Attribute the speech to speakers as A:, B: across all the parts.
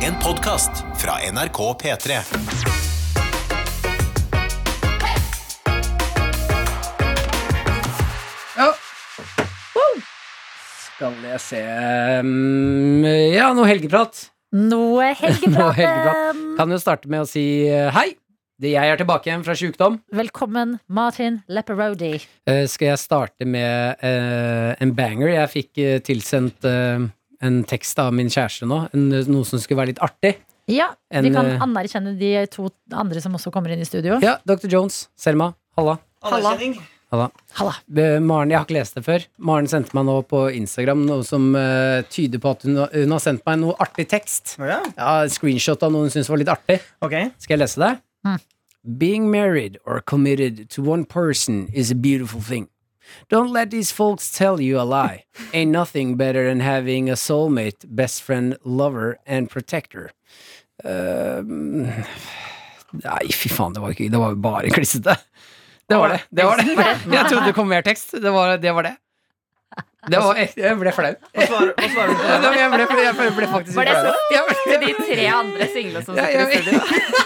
A: En podcast fra NRK P3.
B: Skal jeg se um, Ja, noe helgeprat.
C: Noe
B: Noe
C: helgepraten!
B: helgeprat. Kan jo starte med å si eh, hei. Det jeg er tilbake igjen fra sjukdom.
C: Velkommen, Martin Lepperodi.
B: Eh, skal jeg starte med eh, en banger? Jeg fikk eh, tilsendt eh, en tekst av min kjæreste nå. En, noe som skulle være litt artig.
C: Ja, vi
B: En,
C: kan
B: eh,
C: anerkjenne de to andre som også kommer inn i studio.
B: Ja, Dr. Jones. Selma. Halla.
D: Anerkjenning.
B: Halla.
C: Halla.
B: Eh, Maren, jeg har ikke lest det før. Maren sendte meg nå på Instagram noe som eh, tyder på at hun, hun har sendt meg noe artig tekst.
D: Ja.
B: Ja, Screenshot av noe hun syntes var litt artig.
D: Ok.
B: Skal jeg lese det?
C: Mm.
B: Being married or committed to one person is a beautiful thing. Don't let these folks tell you a lie. Ain't nothing better than having a soulmate, best friend, lover and protector. Eh, nei, fy faen, det var, ikke, det var jo bare klissete. Det var det. det, var det. Jeg trodde det kom mer tekst. Det var det. Var det. Det var, jeg ble flau.
D: Hva svarer, hva svarer du
B: Jeg
D: på det?
B: ble, jeg ble, jeg ble faktisk
E: Var det
B: litt flau.
E: så-
B: Jeg ble,
E: Til de tre andre single som
B: Ja,
E: sitter i
B: jeg-
E: studio.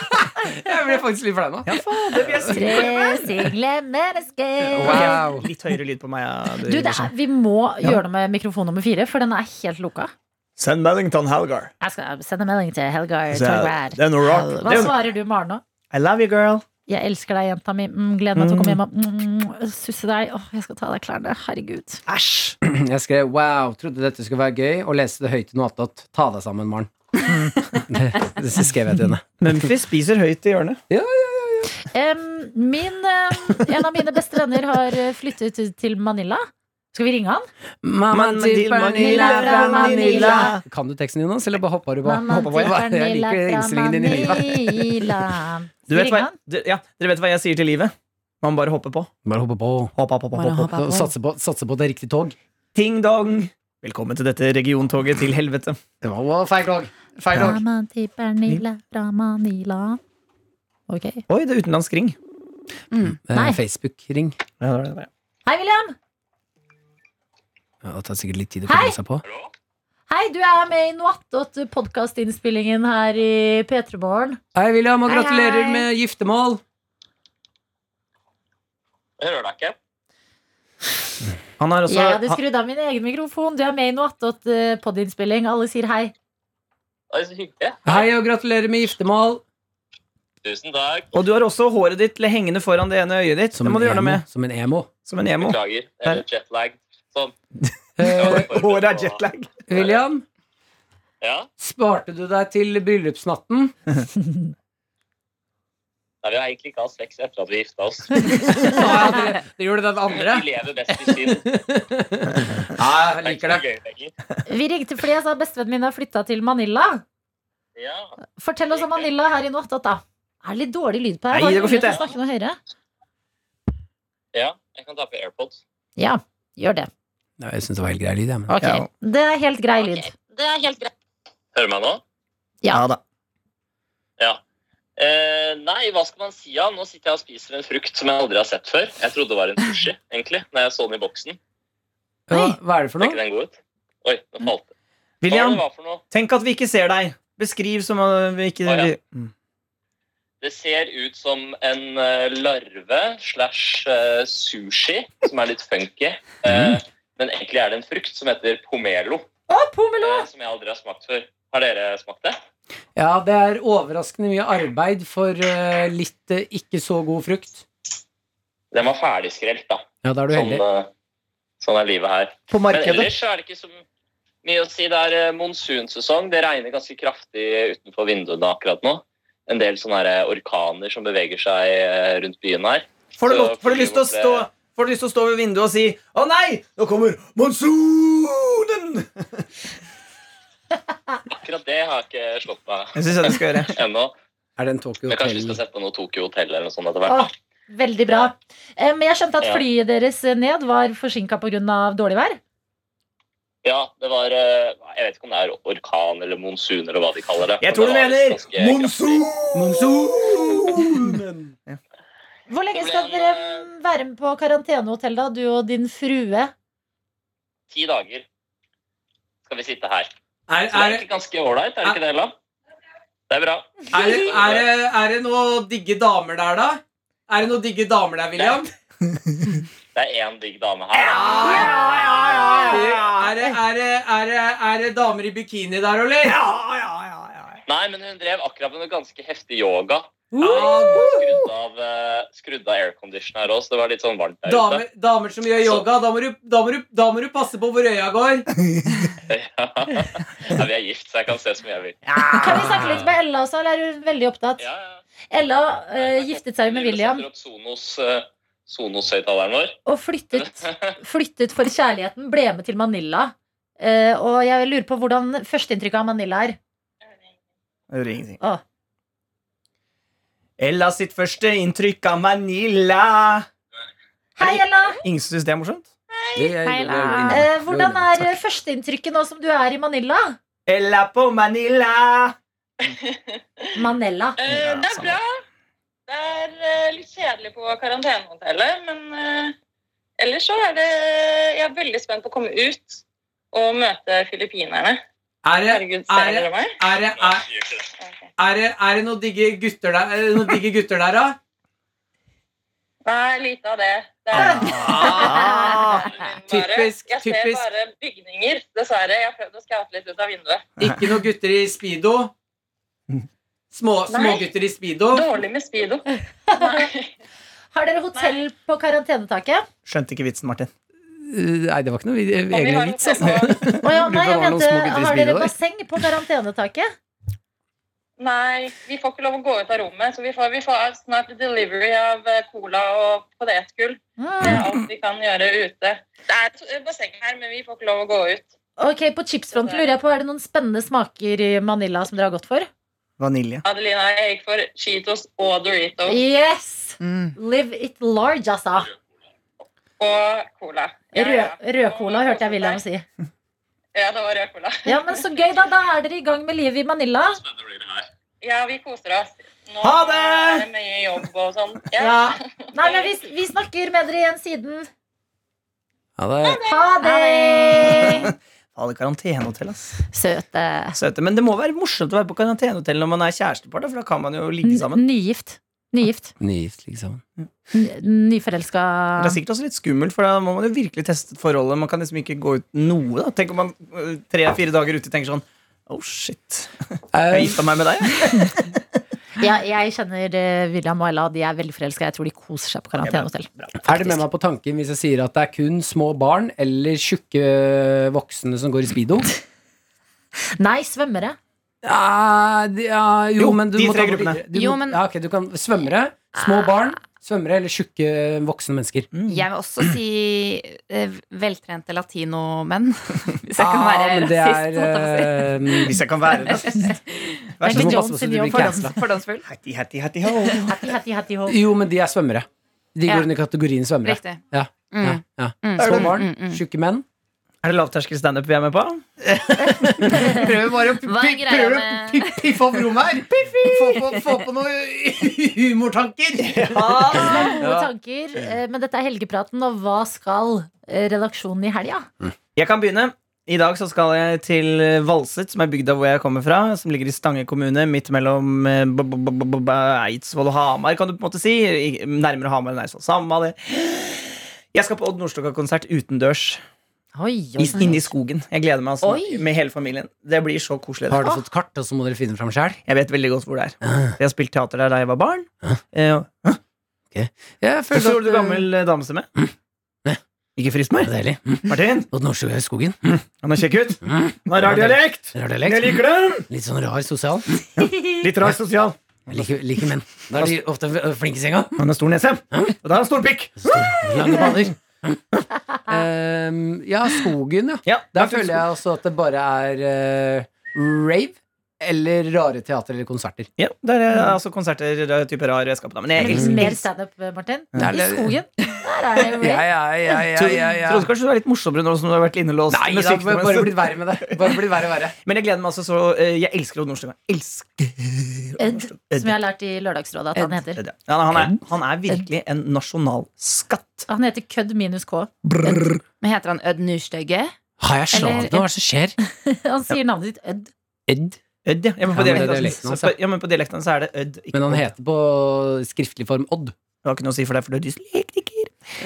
B: jeg ble faktisk litt flau nå.
C: Tre single mennesker.
B: Wow.
D: Ok, Litt høyere lyd på meg. Ja,
C: Du, det er, vi må gjøre noe med mikrofon nummer fire, for den er helt lukka.
D: Send melding til Helgar.
C: Jeg skal sende melding til Helgar
D: Så jeg-
C: Torgrad.
D: det er noe rart. Det
C: Hva
D: er jo-
C: svarer du, Maren, nå?
D: I love you, girl.
C: Jeg elsker deg, jenta mi. Mm, gleder meg til å komme hjem og mm, susse deg. Åh, jeg skal ta av deg klærne. Herregud.
D: Æsj.
B: Jeg skrev 'wow, trodde dette skulle være gøy', og leste det høyt i noe attåt. Ta deg sammen, Maren. det, det skrev jeg til henne.
D: Memphis spiser høyt i hjørnet.
C: Em, min, em, en av mine beste venner har eh, flyttet ut til Manila. Skal vi ringe han?
B: Mamma
D: Mamma
B: til
D: til
B: Manila
C: Manila
B: fra
C: fra
B: Manila.
C: Manila.
B: Kan du teksten, Jonas, eller bare hoppa du på?
C: Mamma
B: Hoppa på, ja.
C: til
B: Jeg
C: Manila
B: liker
C: fra
B: innstillingen din. i livet.
C: Manila.
D: Du
C: Skal vi
D: vet
C: ringe
D: hva,
C: han?
D: du, ja, dere vet hva jeg sier til livet? Man bare hopper på.
B: Bare hoppe på.
D: Hopp, hopp, hopp, hopp, hopp.
B: Og Satse på, satse på at det er riktig tog.
D: Ting dong. Velkommen til dette regiontoget til helvete.
B: Det var wow, feil tog. Feil tog.
C: Mamma til Manila fra Manila. Ok.
D: Oi, det er utenlandsk ring.
B: Eh,
C: Nei.
B: Facebook-ring.
D: Ja, det var det, det var det.
C: Hei, William!
B: Ja, det tar sikkert litt tid å
C: Hei!
B: komme seg på.
C: Hei, du er med i Noattot, podkastinnspillingen her i P3 Morgen.
B: Hei, William, og
E: Hei,
B: gratulerer
E: hei.
B: med giftermål.
F: Jeg hører deg ikke.
D: Han
B: Altså,
D: har også
C: Jeg hadde
D: han,
C: skrudd av min egen mikrofon. Du er med i Noattot podinnspilling. Alle sier hei.
F: Oi, så hyggelig.
B: Hei, og gratulerer med giftermål.
F: Tusen takk.
D: Og du har også håret ditt hengende foran det ene øyet ditt. det må du gjøre noe med.
B: Som en emo.
D: Som en emo.
F: Beklager. Jeg er litt jetlag. Sånn. Jeg var
B: Eh,
F: forberedt
D: Håret er
F: på-
D: jetlag.
B: William,
F: Ja.
B: sparte du deg til bryllupsnatten?
F: Nei, vi har egentlig ikke hatt sex etter at vi gifta oss.
B: Ja, dere, dere gjorde den andre?
F: Vi lever best i skinn. Det
B: Ja, jeg
F: er ikke
B: liker
F: så
B: det.
F: gøy lenger.
C: Vi ringte fordi jeg sa bestevennen min har flytta til Manila.
F: Ja.
C: Fortell oss om Manila her i Noattot, da. Er det litt dårlig lyd på her?
D: Nei,
C: Har
D: det går
C: du mulighet
D: fint,
C: til å snakke noe høyere?
F: ja, jeg kan ta på AirPods.
C: Ja, gjør det.
B: Nei, jeg syns det var helt grei lyd, jeg. Men.
C: Ok.
D: Ja.
C: Det er helt grei lyd.
F: Det er helt greit. Hører du meg nå?
C: Ja.
D: da.
F: Ja. Eh, nei, hva skal man si av? Nå sitter jeg og spiser en frukt som jeg aldri har sett før. Jeg trodde det var en sushi, egentlig, når jeg så den i boksen.
B: Ja, hva er det for
F: Ser ikke
B: noe?
F: den god ut? Oi, nå falt det. Hva var det
D: William,
F: det var for noe?
D: tenk at vi ikke ser deg. Beskriv som om vi ikke
F: Å, ja.
D: Mm.
F: Det ser ut som en eh, larve slash eh, sushi, som er litt funky. Eh,
B: Mm.
F: Men egentlig er det en frukt som heter pomelo, eh, som jeg aldri har smakt før. Har dere smakt det?
B: Ja, det er overraskende mye arbeid for eh, litt eh, ikke så god frukt.
F: Den var ferdigskrelt, da.
B: Ja, da er du
F: Sånn,
B: heldig.
F: eh, sånn er livet her.
D: På
F: Men
D: markedet.
F: ellers så er det ikke så mye å si. Det er eh, monsunsesong. Det regner ganske kraftig utenfor vinduene akkurat nå. En del sånne her, eh, orkaner som beveger seg eh, rundt byen her.
D: Får du,
F: Så
D: lov- får du lyst til å
F: fordi
D: stå
F: vårt, eh,
D: Får du lyst til å stå ved vinduet og si Å nei, nå kommer monsunen!
F: Akkurat det har jeg ikke slått meg
D: Jeg syns jeg du skal gjøre.
F: ennå.
B: Er det en Tokyo
F: Men kanskje vi
B: Hotel?
F: skal sette på noe Tokyo Hotel eller noe sånt etter hvert.
C: Åh,
D: Ah.
C: veldig bra. Eh, Men jeg skjønte at
F: Ja.
C: flyet deres ned var forsinka pga. dårlig vær.
F: Ja, det var eh, Jeg vet ikke om det er orkan eller monsun eller hva de kaller det.
D: Jeg tror du
F: Men det var sånn
D: mener
F: ganske kraftig.
D: monsunen!
C: Hvor lenge
F: Det ble
C: skal
F: en,
C: dere
D: eh,
C: mm, være med på karantenehotell, da? Du og din frue?
F: Ti dager skal vi sitte her.
B: Er,
F: Så det er
B: er,
F: egentlig ganske ålreit, er det ikke det, Ella? Det er bra.
D: Er det, er, det, er det noe digge damer der, da? Er det noe digge damer der, William?
F: Det er én digg dame her.
D: Er det, er det, er det, er det damer i bikini der, eller?
F: Nei, men hun drev akkurat med noe ganske heftig yoga.
D: Ah,
F: Skrudd av, eh, skrudd av aircondition her òg, så det var litt sånn varmt der
D: Damer, damer som gjør yoga, da må, du, da, må du, da må du passe på hvor øya går.
F: ute. Ja. ja, vi er gift, så jeg kan se så mye jeg vil. Ja,
C: Kan vi snakke litt med Ella også? Eller er hun veldig opptatt?
F: ja.
C: Ella eh, giftet seg med
F: Vi
C: William
F: setter opp Sonos, eh, Sonos-høyttaleren vår.
C: og flyttet, flyttet for kjærligheten. Ble med til Manila. Eh, og jeg lurer på hvordan førsteinntrykket av Manila er.
G: Jeg gjorde ingenting.
B: Ah.
C: Å.
G: Ella sitt første inntrykk av Manila.
C: Hei, Ella!
G: Ingen som syns det er morsomt?
B: Det er-
E: Hei,
B: det er-
E: Lars.
C: Eh, hvordan er
B: Takk.
C: eh, førsteinntrykket nå som du er i Manila?
G: Ella på Manila.
C: Manella.
H: Eh, det er
G: samme.
H: bra. Det er eh, litt kjedelig på karantenehotellet, men eh, ellers så er det Jeg er veldig spent på å komme ut og møte filippinerne.
D: Er det,
H: Herregud,
D: er
H: ser
D: det,
H: dere meg?
D: er det, er,
H: Ok.
D: er det, er det noen digge gutter der, er det noen digge gutter der da?
H: Nei, lite av det. det er,
G: Ah.
H: bare-
D: typisk,
H: Jeg ser
D: typisk.
H: bare bygninger, dessverre. Jeg har prøvd å skaute litt ut av vinduet.
D: Ikke noen gutter i speedo? Små- Smågutter i speedo?
B: Eh,
H: Dårlig med speedo.
C: Har dere hotell på karantenetaket?
G: Skjønte ikke vitsen, Martin.
B: Nei, det var ikke noe vid-
H: Og vi
B: egentlig
H: har
B: vits,
H: hotell
B: altså.
H: på-
C: Å ja,
B: Lurer på
C: nei, jeg
B: om det var noen
C: mente,
B: små gutter i speedo
C: har dere
B: der?
C: basseng på karantenetaket?
H: Nei, vi får ikke lov å gå ut av rommet, så vi får, vi får snart delivery av eh, cola og potetgull. Det
C: Mm.
H: er alt vi kan gjøre ute. Det er to- basseng her, men vi får ikke lov å gå ut.
C: Ok, På chipsfronten lurer jeg på, er det noen spennende smaker i Manila som dere har gått for?
G: Vanilje.
H: Adelina, jeg gikk for Cheetos og Doritos
C: Yes!
G: Mm.
C: Live it large, altså.
H: og cola. Ja,
C: Rød,
H: ja.
C: rødcola hørte jeg William si.
H: Ja, det var rød cola.
C: Ja, men Så gøy, da. Da er dere i gang med livet i Manila.
F: Spennende blir det her.
H: Ja, vi koser oss. Nå
G: Ha det!
H: er det mye jobb og sånn. Ja.
C: Ja. Nei, men vi, vi snakker med dere igjen siden.
B: Ja, det er-
C: Ha det!
G: Alle karantenehotell, ass.
C: Søte.
G: Søte. Men det må være morsomt å være på karantenehotell når man er kjærestepar, da, for da kan man jo ligge sammen.
C: Nygift. Nygift.
B: Nygift, liksom.
C: Ny- Nyforelska
G: Det er sikkert også litt skummelt, for da må man jo virkelig teste forholdet. Man kan liksom ikke gå ut noe. da Tenk om man øh, tre-fire dager ute tenker sånn Oh shit, jeg gifta meg med deg. jeg».
C: ja, Jeg kjenner eh, William og Ella. De er veldig forelska. Jeg tror de koser seg på karantenehotell.
B: Er det med meg på tanken hvis jeg sier at det er kun små barn eller tjukke eh, voksne som går i speedo?
C: Nei, svømmere.
B: Ja, de- ja, jo,
G: Jo,
B: men du
G: de
B: må
G: tre
B: ta bort-
G: gruppene.
B: Du,
E: Jo,
B: må-
E: men-
B: ja, ok, du kan Svømmere, små barn, svømmere eller tjukke voksne mennesker.
E: Jeg vil også si eh, veltrente latinomenn. Hvis jeg kan
B: Ah,
E: være
B: men det
E: rasist. holdt jeg på å
B: er
E: si.
B: eh,
G: Hvis jeg kan være det. Vær så
B: god, passe på
G: snill.
E: Michael Jones
B: så du
E: senior
B: blir cancela.
E: fordoms- fordomsfull.
G: Hattie, hattie, hattie, ho.
C: Hattie, hattie, hattie, ho.
B: eh, Jo, men de er svømmere. De
E: Ja.
B: går under kategorien svømmere.
E: Riktig.
B: Ja,
E: Mm.
B: ja, ja.
E: Mm.
B: Små barn,
E: Mm, mm.
B: tjukke menn.
G: Er det lavterskel standup vi er med på? Prøver bare å
E: Hva er greia med
G: piffe opp rommet her.
D: Få på, få på noen humortanker!
E: mm.
D: Ah.
C: Det er gode tanker, eh, men dette er helgepraten, og hva skal eh, redaksjonen i helga?
G: Jeg kan begynne. I dag så skal jeg til Valset, som er bygda hvor jeg kommer fra. Som ligger i Stange kommune, midt mellom eh, b- b- b- b- b- Eidsvoll og Hamar, kan du på en måte si. I- Nærmere Hamar enn Eidsvoll. Samme det. Jeg skal på Odd Nordstoga-konsert utendørs.
C: Oi, oi,
G: i- Inne i skogen. Jeg gleder meg altså,
C: Oi.
G: med hele familien. Det blir så koselig.
B: Har du fått kart, og så må dere finne fram sjæl?
G: Jeg vet veldig godt hvor det er. Jeg har spilt teater der da jeg var barn. Eh,
B: Jeg
G: Hvor
B: føler at
G: stor
B: eh,
G: du gammel eh, damestemme? Ikke frist meg.
B: Deilig. Mm.
G: Martin,
B: Og nordsjø i skogen.
G: han er kjekk ut.
B: Mm.
G: Han har rar dialekt.
B: Rar
G: Jeg
B: dialekt.
G: liker den.
B: Litt sånn rar sosial.
G: Litt rar sosial.
B: Jeg liker, liker menn. Da er de ofte f- flinke i senga.
G: Han har stor nese. Og da har han stor pikk.
B: Stor- Lange baner. Ehm, ja, skogen, ja.
G: Ja,
B: Der
G: det er
B: føler jeg også at det bare er eh, rave eller rare teater eller konserter.
G: Ja, det er eh, altså konserter og type rar redskap. Da. Men jeg
C: Litt
G: elsker
C: mer standup, eh, Martin.
B: Ja.
C: I skogen. Der er det jo
B: Ja, ja, ja, ja, ja, ja.
G: Trodde kanskje du var litt morsommere nå som du har vært innelåst.
B: Nei,
G: med
B: det har
G: sykdom en
B: bare
G: stund.
B: blitt verre med det. Bare blitt verre og verre.
G: Men jeg gleder meg altså så eh, Jeg elsker Odd Nordstoga. Elsker
C: Ed, som jeg har lært i Lørdagsrådet at han heter.
G: det. Ja, han, er, han er virkelig en nasjonalskatt.
C: Han heter kødd minus K.
E: Men heter han Ødd Nurstøgge?
B: Har jeg
E: Eller-
B: slaget nå? Hva er det som skjer?
C: Han sier navnet ditt Ødd.
B: Ed?
G: Ødd, ja. Ja, men
B: Ja, men
G: på
B: det er
G: dialekten
B: dialekten
G: så-
B: hans,
G: så- ja, men på dialekten så er det ødd. Ikke
B: Men han
G: odd.
B: heter på skriftlig form Odd.
G: Det har ikke noe å si for deg, for du er dyslektiker.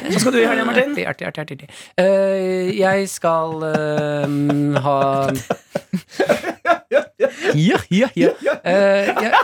G: Hva skal du i helga, Martin?
B: Artig, artig, artig, artig, artig. Eh, jeg skal eh, ha Ja, ja, ja. Eh, jeg...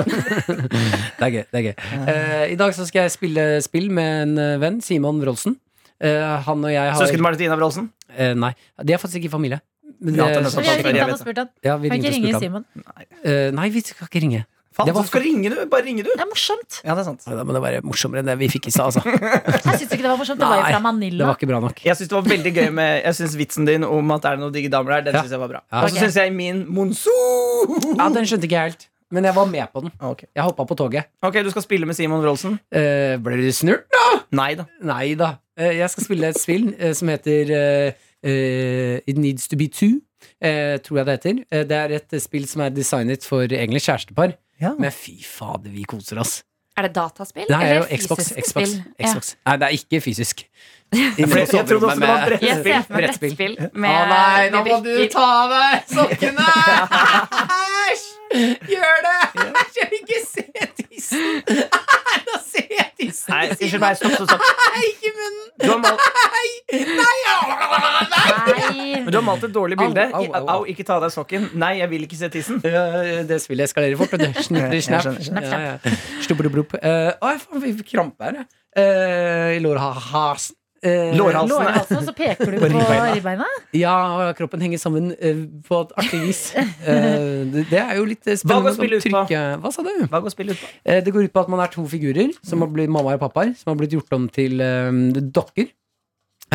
B: det er gøy. det er gøy Eh, I dag så skal jeg spille spill med en eh, venn, Simon Wroldsen. Eh, han og jeg har
G: Søsken Martina Wroldsen?
B: Eh, Nei, de er faktisk ikke i familie. Men,
G: Ja, den er
B: eh,
G: sånn.
C: Vi har
G: jeg
C: ringt
G: vet
C: han
G: det.
C: og spurt han.
B: ja, vi
C: Kan
B: ringte
C: ikke
B: og
C: ringe
B: spurte ham.
C: Simon.
B: Eh, nei, vi skal ikke ringe.
G: Faen,
B: Det var-
G: hvorfor skal ringe, du? Bare ringe, du.
C: Det er morsomt.
G: Ja, det er sant.
B: Nei, da må det være morsommere enn det vi fikk i stad, altså.
C: Jeg syns ikke det var morsomt. Det var jo
B: Nei,
C: fra
B: Det
C: Manila.
B: var ikke bra nok.
G: Jeg syns det var veldig gøy med Jeg synes vitsen din om at er det noen digge damer der, den
B: Ja.
G: synes jeg var bra.
B: Ja.
G: Og så
C: Ok.
G: synes jeg min Monsu Ah,
B: Ja, Den skjønte ikke jeg helt. Men jeg var med på den.
G: Ok.
B: Jeg hoppa på toget.
G: ok, du skal spille med Simon Wroldsen?
B: Eh, ble du snurt?
G: Nei da.
B: Nei da. Eh, Jeg skal spille et spill eh, som heter eh, eh, It Needs To Be Two. eh, tror jeg det heter. Eh, Det er et eh, spill som er designet for egentlig kjærestepar.
G: Ja.
B: Men fy fader, vi koser oss.
E: Er det dataspill?
B: Det her er
E: eller
B: jo Xbox.
E: fysisk
B: Xbox,
E: spill? Ja.
B: Xbox. Nei, det er ikke fysisk. Jeg
G: For jeg trodde også det var brettspill.
E: Jeg ser for meg
B: Brettspill.
E: brettspill.
D: Å
E: Med,
D: Ah, nei, nå
E: med
D: må du
E: brikker.
D: ta av deg sokkene! Æsj! Gjør det! Æsj, jeg vil ikke se tissen! Æsj, da ser jeg tissen!
G: Nei, unnskyld meg. Stopp, stopp, stopp.
D: Nei, ikke munnen!
G: Du har malt,
C: Nei.
G: men du har malt et dårlig bilde.
B: Au, au,
G: I-
B: au, au.
G: Au, ikke ta av deg sokken. Nei, jeg vil ikke se tissen.
B: Eh, Det spillet eskalerer fort. vet du. Snipper,
G: Jeg
B: snapp.
G: skjønner,
B: Ja, ja. Stupp, dupp, dupp. Eh, Å, jeg faen, vi fikk krampe her, jeg. Eh, I lårhalsen. Eh,
G: Lårhalsen.
C: Lårhalsen, og altså, så peker du
G: På
C: på
G: ribbeina.
C: ribbeina.
B: Ja, og kroppen henger sammen eh, på et artig vis. Eh, det, det er jo litt eh,
G: Hva går
B: spennende.
G: spillet ut på?
B: sånn trykke- Hva sa du?
G: Hva går spillet ut på?
B: Eh, det går ut på at man er to figurer, som har blitt mamma og pappaer, som har blitt gjort om til eh, dokker.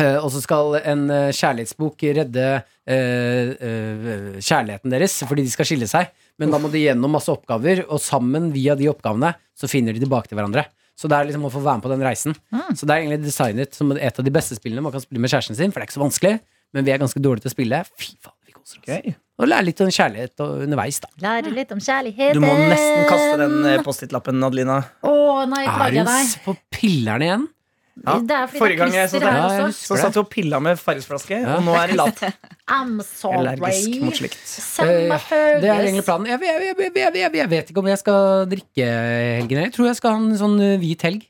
B: Eh, og så skal en eh, kjærlighetsbok redde eh, eh, kjærligheten deres, fordi de skal skille seg. Men da må de gjennom masse oppgaver, og sammen via de oppgavene så finner de tilbake til hverandre. Så det er liksom å få være med på den reisen.
C: Mm.
B: Så det er egentlig designet som et av de beste spillene man kan spille med kjæresten sin, for det er ikke så vanskelig. Men vi er ganske dårlige til å spille. Fy faen, vi koser oss. Og lære litt om kjærlighet og underveis, da.
C: Lære litt om kjærligheten.
G: Du må nesten kaste den eh, Post-It-lappen, Adelina.
C: Å nei,
B: Er
C: plager jeg
B: hun
C: deg?
B: s- på pillerne igjen?
G: Ja,
C: Det er fordi det
G: forrige
C: er
G: gang jeg så
C: klister
G: det-
C: her
B: Ja, jeg
C: også.
B: husker
G: Så satt du og pilla med fargesflaske, og nå er det lat.
C: I'm
G: Allergisk mot
C: sorry.
G: slikt.
C: Selma
B: Eh, Det er egentlig
C: Fergus.
B: planen. Jeg, jeg, jeg, jeg, jeg, jeg, jeg vet ikke om jeg skal drikke helgen. Jeg tror jeg skal ha en sånn eh, hvit helg.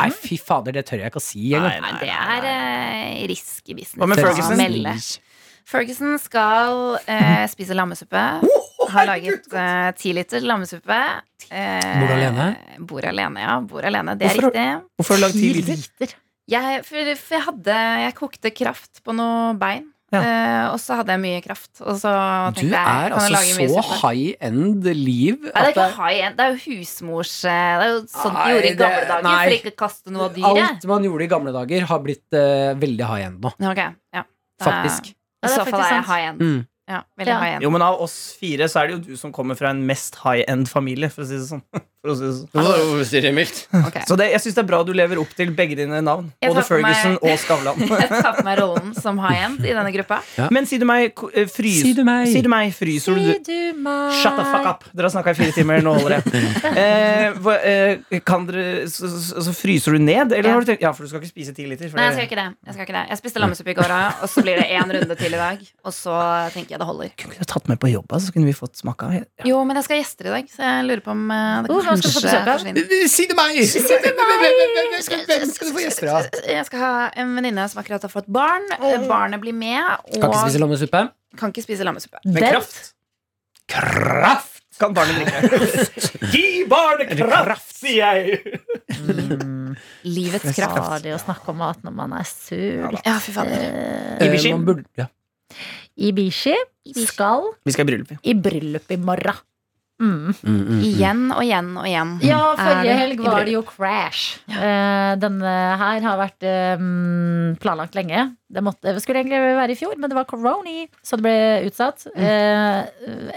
B: Nei,
E: Mm.
B: fy fader, det tør jeg ikke å si engang.
E: Nei, det er eh, risky business.
G: Hva med
E: å
G: Ferguson?
E: melde. Ferguson skal eh, spise lammesuppe. har laget eh, ti liter lammesuppe. Eh,
B: Bor du alene?
E: Bor alene, ja. Bor alene, Det er
G: Hvorfor-
E: riktig.
G: Hvorfor har du lagd ti liter?
E: Jeg, for, for jeg hadde Jeg kokte kraft på noe bein.
G: Ja.
E: eh, og så hadde jeg mye kraft. Og så
B: Du
E: tenkte jeg,
B: er
E: kan jeg
B: altså
E: lage mye
B: så
E: suppe?
B: high end liv
E: Nei, det er
B: at eh,
E: ikke high end. Det er jo husmors eh, Det er jo sånt de
B: Nei,
E: gjorde i
B: det-
E: gamle dager
B: nei.
E: for ikke å kaste noe av dyret.
B: alt man gjorde i gamle dager, har blitt eh, veldig high end nå.
E: Ok, ja. Da-
B: Faktisk.
C: Ja,
E: I
C: det er
E: så fall
C: faktisk
E: er jeg
C: sant.
E: high end.
B: Mm.
E: Ja, veldig
C: Ja.
E: high end.
G: Jo, men av oss fire så er det jo du som kommer fra en mest high-end-familie, for å si det sånn. For å si det sånn.
E: Ok.
G: Så det, jeg syns det er bra du lever opp til begge dine navn.
E: Jeg
G: Både
E: tar på meg-
G: Ferguson og Skavlan.
E: Jeg tar på meg rollen som high end i denne gruppa.
G: Men si du meg, ko- eh, frys,
B: Si du meg.
G: si du meg fryser du Shut the fuck up! Dere har snakka i fire timer, nå holder det. Eh, hva- eh, kan dere så, så, så altså, fryser du ned, eller
E: Ja.
G: har du tenkt Ja, for du skal ikke spise ti liter. For
E: Nei, jeg skal
G: det-
E: ikke det. Jeg, skal ikke det. jeg spiste lammesuppe i går, også, og så blir det én runde til i dag. Og så tenker jeg det holder.
G: Kunne du tatt med på jobb, altså? så kunne vi fått smaka. Ja.
E: Jo, men jeg skal ha gjester i dag, så jeg lurer på om eh, det
C: Oh, hvem skal du få besøk av?
E: forsvinner.
B: Si det meg! Hvem skal du få gjester av?
E: Jeg skal ha en venninne som akkurat har fått barn. Eh, Barnet blir med,
B: Kan ikke
E: og
B: spise lommesuppe.
E: kan ikke spise lammesuppe.
G: Med
C: Den-
G: kraft. Kraft! Kan barnet drikke. Gi barnet kraft, sier jeg!
E: Livets
C: Ja,
E: kraft.
C: Mm. det å snakke om mat når man er sur.
E: Ja, fy fader.
C: Eh,
G: Ibishi.
B: Eh, man burde- ja.
C: Ibishi skal
G: Vi skal i bryllup, vi.
C: i bryllup i morgen. Mm.
E: Igjen og igjen og igjen.
C: Ja,
E: Er det
C: forrige helg
E: i
C: var
E: bryllup?
C: det jo Crash. Eh, denne her har vært eh, mm, planlagt lenge. Det måtte, det skulle egentlig være i fjor, men det var corona, så det ble utsatt. Eh,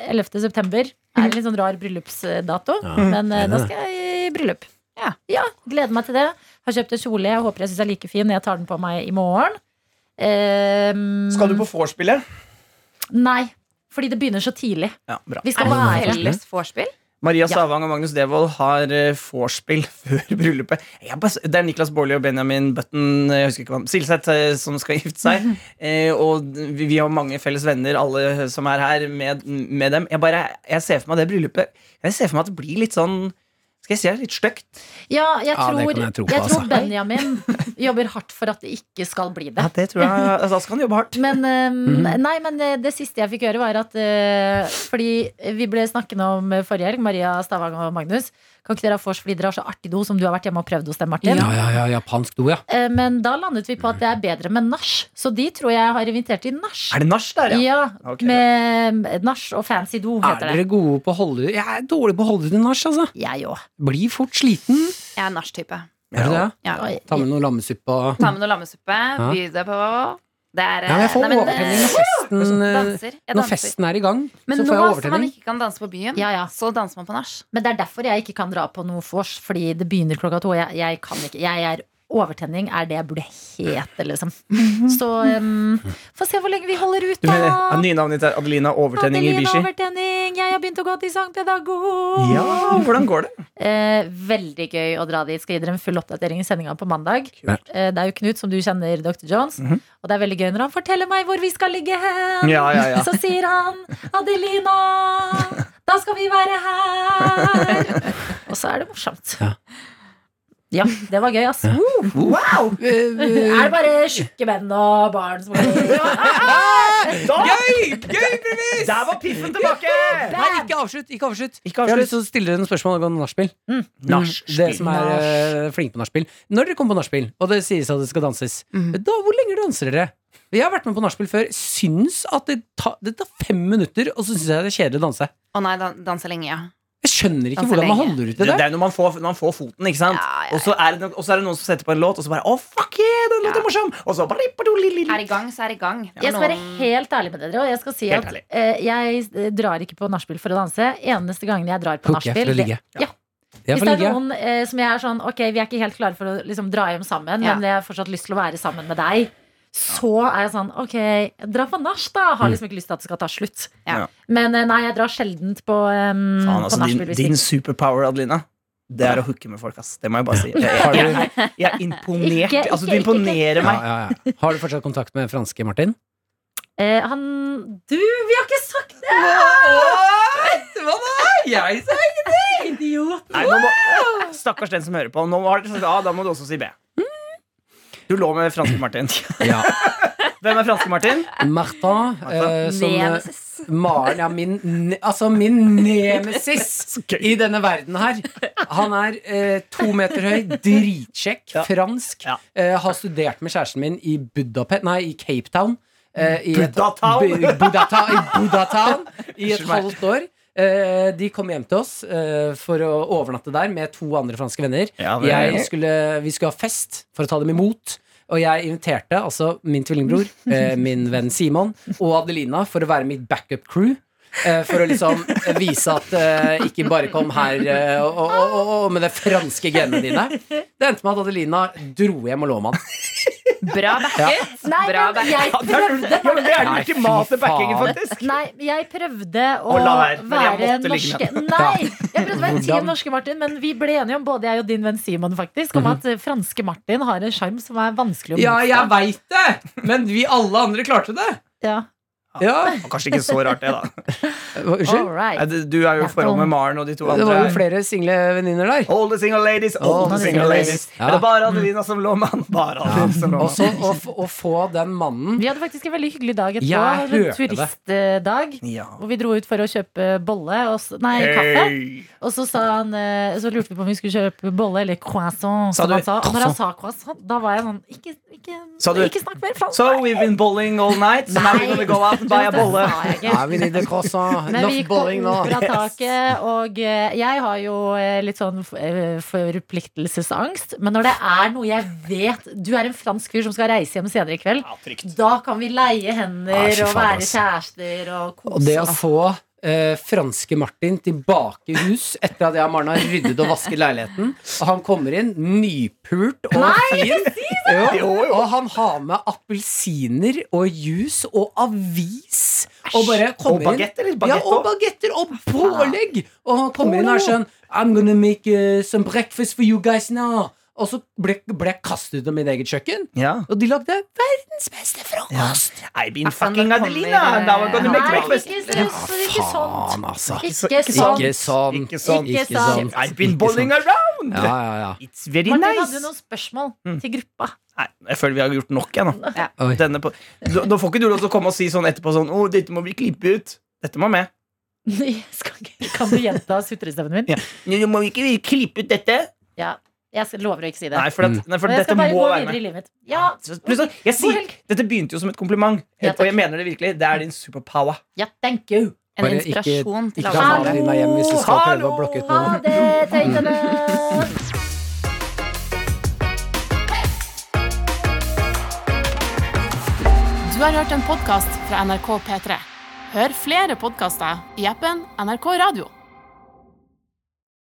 C: 11. september er en litt sånn rar bryllupsdato,
B: Ja,
C: men
B: det
C: eh,
B: er
C: da
B: det.
C: skal jeg i bryllup. Ja. ja, gleder meg til det. Har kjøpt en kjole jeg håper jeg syns er like fin. Jeg tar den på meg i morgen. Eh,
G: Skal du på vorspielet?
C: Nei, fordi det begynner så tidlig.
G: Ja, bra.
C: Vi
E: Er
C: skal
E: det
C: være
E: felles vorspiel?
G: Maria
C: Ja.
G: Stavang og Magnus Devold har eh, vorspiel før bryllupet. Jeg bare, s- det er Niklas Baarli og Benjamin Button eh, jeg husker ikke hva, han- Silseth eh, som skal gifte seg. Eh, og vi, vi har mange felles venner, alle som er her, med, med dem. Jeg, bare, jeg ser for meg det bryllupet Jeg ser for meg at det blir litt sånn Skal jeg si det? Litt stygt.
C: Ja, jeg
B: Ja, det
C: tror,
B: kan jeg
C: jeg
B: tro
C: tror,
B: på, altså.
C: Benjamin jobber hardt for at det ikke skal bli det.
G: Ja, det tror jeg altså, Da skal han jobbe hardt.
C: Men, ehm,
B: Mhm.
C: nei, men det, det siste jeg fikk høre, var at eh, Fordi vi ble snakkende om forrige helg, Maria Stavang og Magnus. Kan ikke dere ha vors fordi dere har så artig do som du har vært hjemme og prøvd hos dem, Martin?
B: Ja, ja, ja, japansk do, ja.
C: Eh, Men da landet vi på at det er bedre med nach, så de tror jeg har invitert til nach.
G: Er det nach der, ja?
C: Ja,
G: Ok,
C: med nach og fancy do,
B: Er
C: heter det.
B: dere gode på å holde ut? Jeg er dårlig på å holde ut i nach, altså.
C: Jeg òg.
B: Blir fort sliten.
E: Jeg er nachtype.
B: Er det det?
E: Ja.
B: Ta med noe lammesuppe og
E: Ta med noe lammesuppe, by deg på Det er
B: Ja, men jeg får
E: nei, men,
B: overtenning når
E: eh,
B: festen, eh,
E: danser.
B: når
E: Jeg danser.
B: festen er i gang.
E: Men
B: Så
E: nå
B: får jeg
E: som man
B: overtenning.
E: ikke kan danse på byen,
C: Ja, ja.
E: så danser man på nach.
C: Men det er derfor jeg ikke kan dra på noe vors, fordi det begynner klokka to. og Jeg, jeg kan ikke. Jeg er overtenning, er det jeg burde hete, liksom. Så um, få se hvor lenge vi holder ut,
G: Mhm. Du mener, ja,
C: da.
G: nye navnet ditt er Adelina Overtenning i
C: Adeline
G: Bishi.
C: Overtenning, jeg har begynt å gå til sangpedagog.
G: Ja, hvordan går det?
C: Eh, veldig gøy å dra dit. Skal gi dere en full oppdatering i sendinga på mandag.
B: Kult.
C: Eh, det er jo Knut, som du kjenner, Dr. Jones.
G: Mhm.
C: Og det er veldig gøy når han forteller meg hvor vi skal ligge hen.
G: Ja, ja, ja.
C: Så sier han 'Adelina, da skal vi være her'. Og så er det morsomt.
B: Ja.
C: Ja, det var gøy, ass. Woo! Wow! Er det bare tjukke menn og barn som
G: Gøy! Gøy premiss! Der var piffen tilbake!
B: Nei, ikke avslutt! ikke avslutt
G: Ikke
B: Jeg har lyst til
G: avslutt.
B: å stille dere noen spørsmål angående nachspiel.
C: Mm.
G: Nachspiel.
B: Dere som er eh, flinke på nachspiel. Når dere kommer på nachspiel, og det sies at det skal danses,
E: Mhm.
B: da hvor lenge danser dere? Jeg har vært med på nachspiel før. Syns at det, ta, det tar fem minutter, og så syns jeg det er kjedelig å danse.
E: Å nei, dan danse lenge, ja.
B: Jeg skjønner ikke
E: Danse
B: hvordan man
E: lenge.
B: holder ut
G: Det,
B: det
G: det
B: der.
G: er når man får, når man får foten, ikke sant?
E: Ja, ja, ja.
G: Og så er, det no- og så er det noen som setter på en låt, og så bare Å, fuck yeah, den låta er morsom! Og så bare, bare, li, li,
E: Er
G: li.
E: i gang, så er i gang.
C: Jeg skal være helt ærlig med dere, og jeg skal si
G: Helt
C: at
G: ærlig.
C: eh, jeg eh, drar ikke på nachspiel for å danse. Eneste gangen jeg drar på
B: Hooker jeg
C: nachspiel
B: for å
C: det-
B: ligge.
C: Ja.
B: Jeg
C: Hvis
B: får
C: det er
B: ligge.
C: noen eh, som jeg er sånn Ok, vi er ikke helt klare for å liksom, dra hjem sammen,
E: Ja.
C: men jeg har fortsatt lyst til å være sammen med deg. Så er jeg sånn Ok, dra på nach, da.
G: Mm.
C: Har liksom ikke lyst til at det skal ta slutt.
E: Ja.
C: Men eh, nei, jeg drar sjeldent på, um,
G: Faen,
C: på
G: altså, din,
C: nachspiel. hvis
G: din
C: ikke-
G: superpower, Adelina, det er å hooke med folk, ass. Det må jeg bare si. Jeg,
B: Har
G: jeg,
B: du,
G: jeg, er imponert.
C: Ikke-
G: altså, du
C: ikke- ikke-
G: imponerer
B: ja,
G: meg.
B: ja, ja. har du fortsatt kontakt med franske Martin?
C: Eh, han Du, vi har ikke sagt det!
G: Hva da? Jeg sa
C: Idiot.
G: Nei, nå må, Stakkars den som hører på. Nå har dere sagt A, da må du også si B. Du lå med franske Martin.
B: Ja.
G: Hvem er franske Martin?
B: Martin, eh, som eh,
C: Nemesis.
B: Maren, ja, min, ne- altså min nemesis i denne verden her. Han er eh, to meter høy, dritsjekk,
G: Ja.
B: fransk.
G: Ja.
B: Eh, har studert med kjæresten min i Budapest, nei, i Cape Town. eh, i et-
G: Budatown.
B: Bu- Budata, I Budatown i et
G: Unnskyld meg.
B: halvt år. Eh, de kom hjem til oss eh, for å overnatte der med to andre franske venner.
G: Ja, vel.
B: jeg skulle, vi skulle ha fest for å ta dem imot. Og jeg inviterte altså min tvillingbror, eh, min venn Simon og Adelina for å være mitt backup crew. eh, for å liksom vise at eh, ikke bare kom her eh, og, og, og, og med det franske genene dine. Det endte med at Adelina dro hjem og lå med han.
E: Bra backet.
C: Nei,
E: Bra
C: men jeg
G: Ja, det er ja, men det er den
B: Nei, fy
G: ultimate backingen,
B: faen.
G: faktisk.
C: Nei, jeg prøvde å
G: Å, la være, men jeg
C: være
G: måtte ligge
C: norske Nei, jeg prøvde å være team norske Martin Men vi ble enige om, både jeg og din venn Simon faktisk Om at eh, franske Martin har en skjerm som er vanskelig å
B: Ja,
C: motstå.
B: jeg veit det! Men vi alle andre klarte det.
C: ja.
B: Ja.
G: Og Kanskje ikke så rart, det, da.
B: Hva- Unnskyld?
C: All
G: Nei,
C: right
G: du- Du er jo i forhold med Maren og de to
B: Det var
G: andre.
B: jo flere single venninner der.
G: All the single ladies, all the single ladies.
B: Ja.
G: Er det bare Adelina som lå med han? Bare Adelina som lå
B: Og
G: med
B: så
G: han.
B: å, f- å få den mannen
C: Vi hadde faktisk en veldig hyggelig dag
B: Jeg
C: etterpå
B: hørte
C: En
B: det.
C: turistdag
G: Ja.
C: hvor vi dro ut for å kjøpe bolle og, s- Nei, kaffe
G: Hey.
C: Og så, sa han, eh, så lurte vi på om vi skulle kjøpe bolle Eller croissant
G: Sa
C: som
G: du
C: han sa. Og når han sa croissant, da var jeg sånn Ikke, ikke,
G: Sa du-
C: ikke snakk mer fransk
G: So we've been bowling all night, so now we're gonna go out and buy a bolle.
C: Det sa jeg ikke.
B: Ja, vi need a croissant.
C: Men vi
B: Enough
C: gikk på
B: bowling nå.
C: operataket, og eh, jeg har jo eh, litt sånn eh, forpliktelsesangst. Men når det er noe jeg vet Du er en fransk fyr som skal reise hjem senere i kveld.
G: Ja, trygt.
C: Da kan vi leie
B: Nei,
C: hender
B: fy
C: og
B: faen,
C: være
B: ass.
C: kjærester og
B: Og det
C: kose
B: å
C: oss.
B: få eh, franske Martin tilbake i hus etter at jeg og Maren har ryddet og vasket leiligheten, og han kommer inn nypult og fin, jo, og han har med appelsiner og juice og avis Og bare
G: Og
B: kommer inn.
G: bagett, eller?
B: Ja,
G: Bagett
B: og
G: også.
B: bagetter og pålegg! Og han kommer inn og er sånn I'm gonna make eh, some breakfast for you guys now. Og så ble, ble jeg kastet ut av mitt eget kjøkken.
G: ja.
B: Og de lagde verdens beste frokost!
G: I've been
E: Altså,
G: fucking
E: det kommer,
G: Adelina!
E: eh,
G: Now I'm gonna make
C: Nei,
G: breakfast.
C: ikke, så- så- ikke sånt.
B: Faen, altså.
C: Ikke sånn.
B: Ikke sånn.
G: Ikke sånn.
C: Ikke sånn.
G: I've been bowling around!
B: Ja, ja, ja.
G: It's very
C: Martin hadde jo
G: nice.
C: noen spørsmål
G: Mm.
C: til gruppa.
G: Nei, jeg føler vi har gjort nok, jeg, nå.
E: Ja.
B: Oi.
G: Denne på, da, da får ikke du lov til å komme og si sånn etterpå sånn Å, dette må vi klippe ut. Dette må med.
C: Jeg skal ikke- Kan du gjenta sutrestemmen min?
G: Nå må vi ikke klippe ut dette.
C: Ja. Jeg skal- lover å ikke si det.
G: Nei, for, at, nei, for
C: Men jeg
G: dette
C: skal
G: må
C: bare gå
G: være
C: videre i
G: med.
C: livet mitt. Ja,
G: Så- plutselig-
C: God
G: jeg sier,
C: helg.
G: dette begynte jo som et kompliment,
C: Ja,
G: og jeg
C: takk.
G: mener det virkelig. Det er din superpower.
C: ja, thank you.
E: En
B: Bare ikke-
E: inspirasjon til
B: Ikke
E: alle
B: ta
C: Hallo,
E: andre.
B: Malin hjem hvis du skal prøve å
G: hallo,
B: blokke ut noen.
C: Ha det, tøytene!
I: Du har hørt en podkast fra NRK P3. Hør flere podkaster i appen NRK Radio.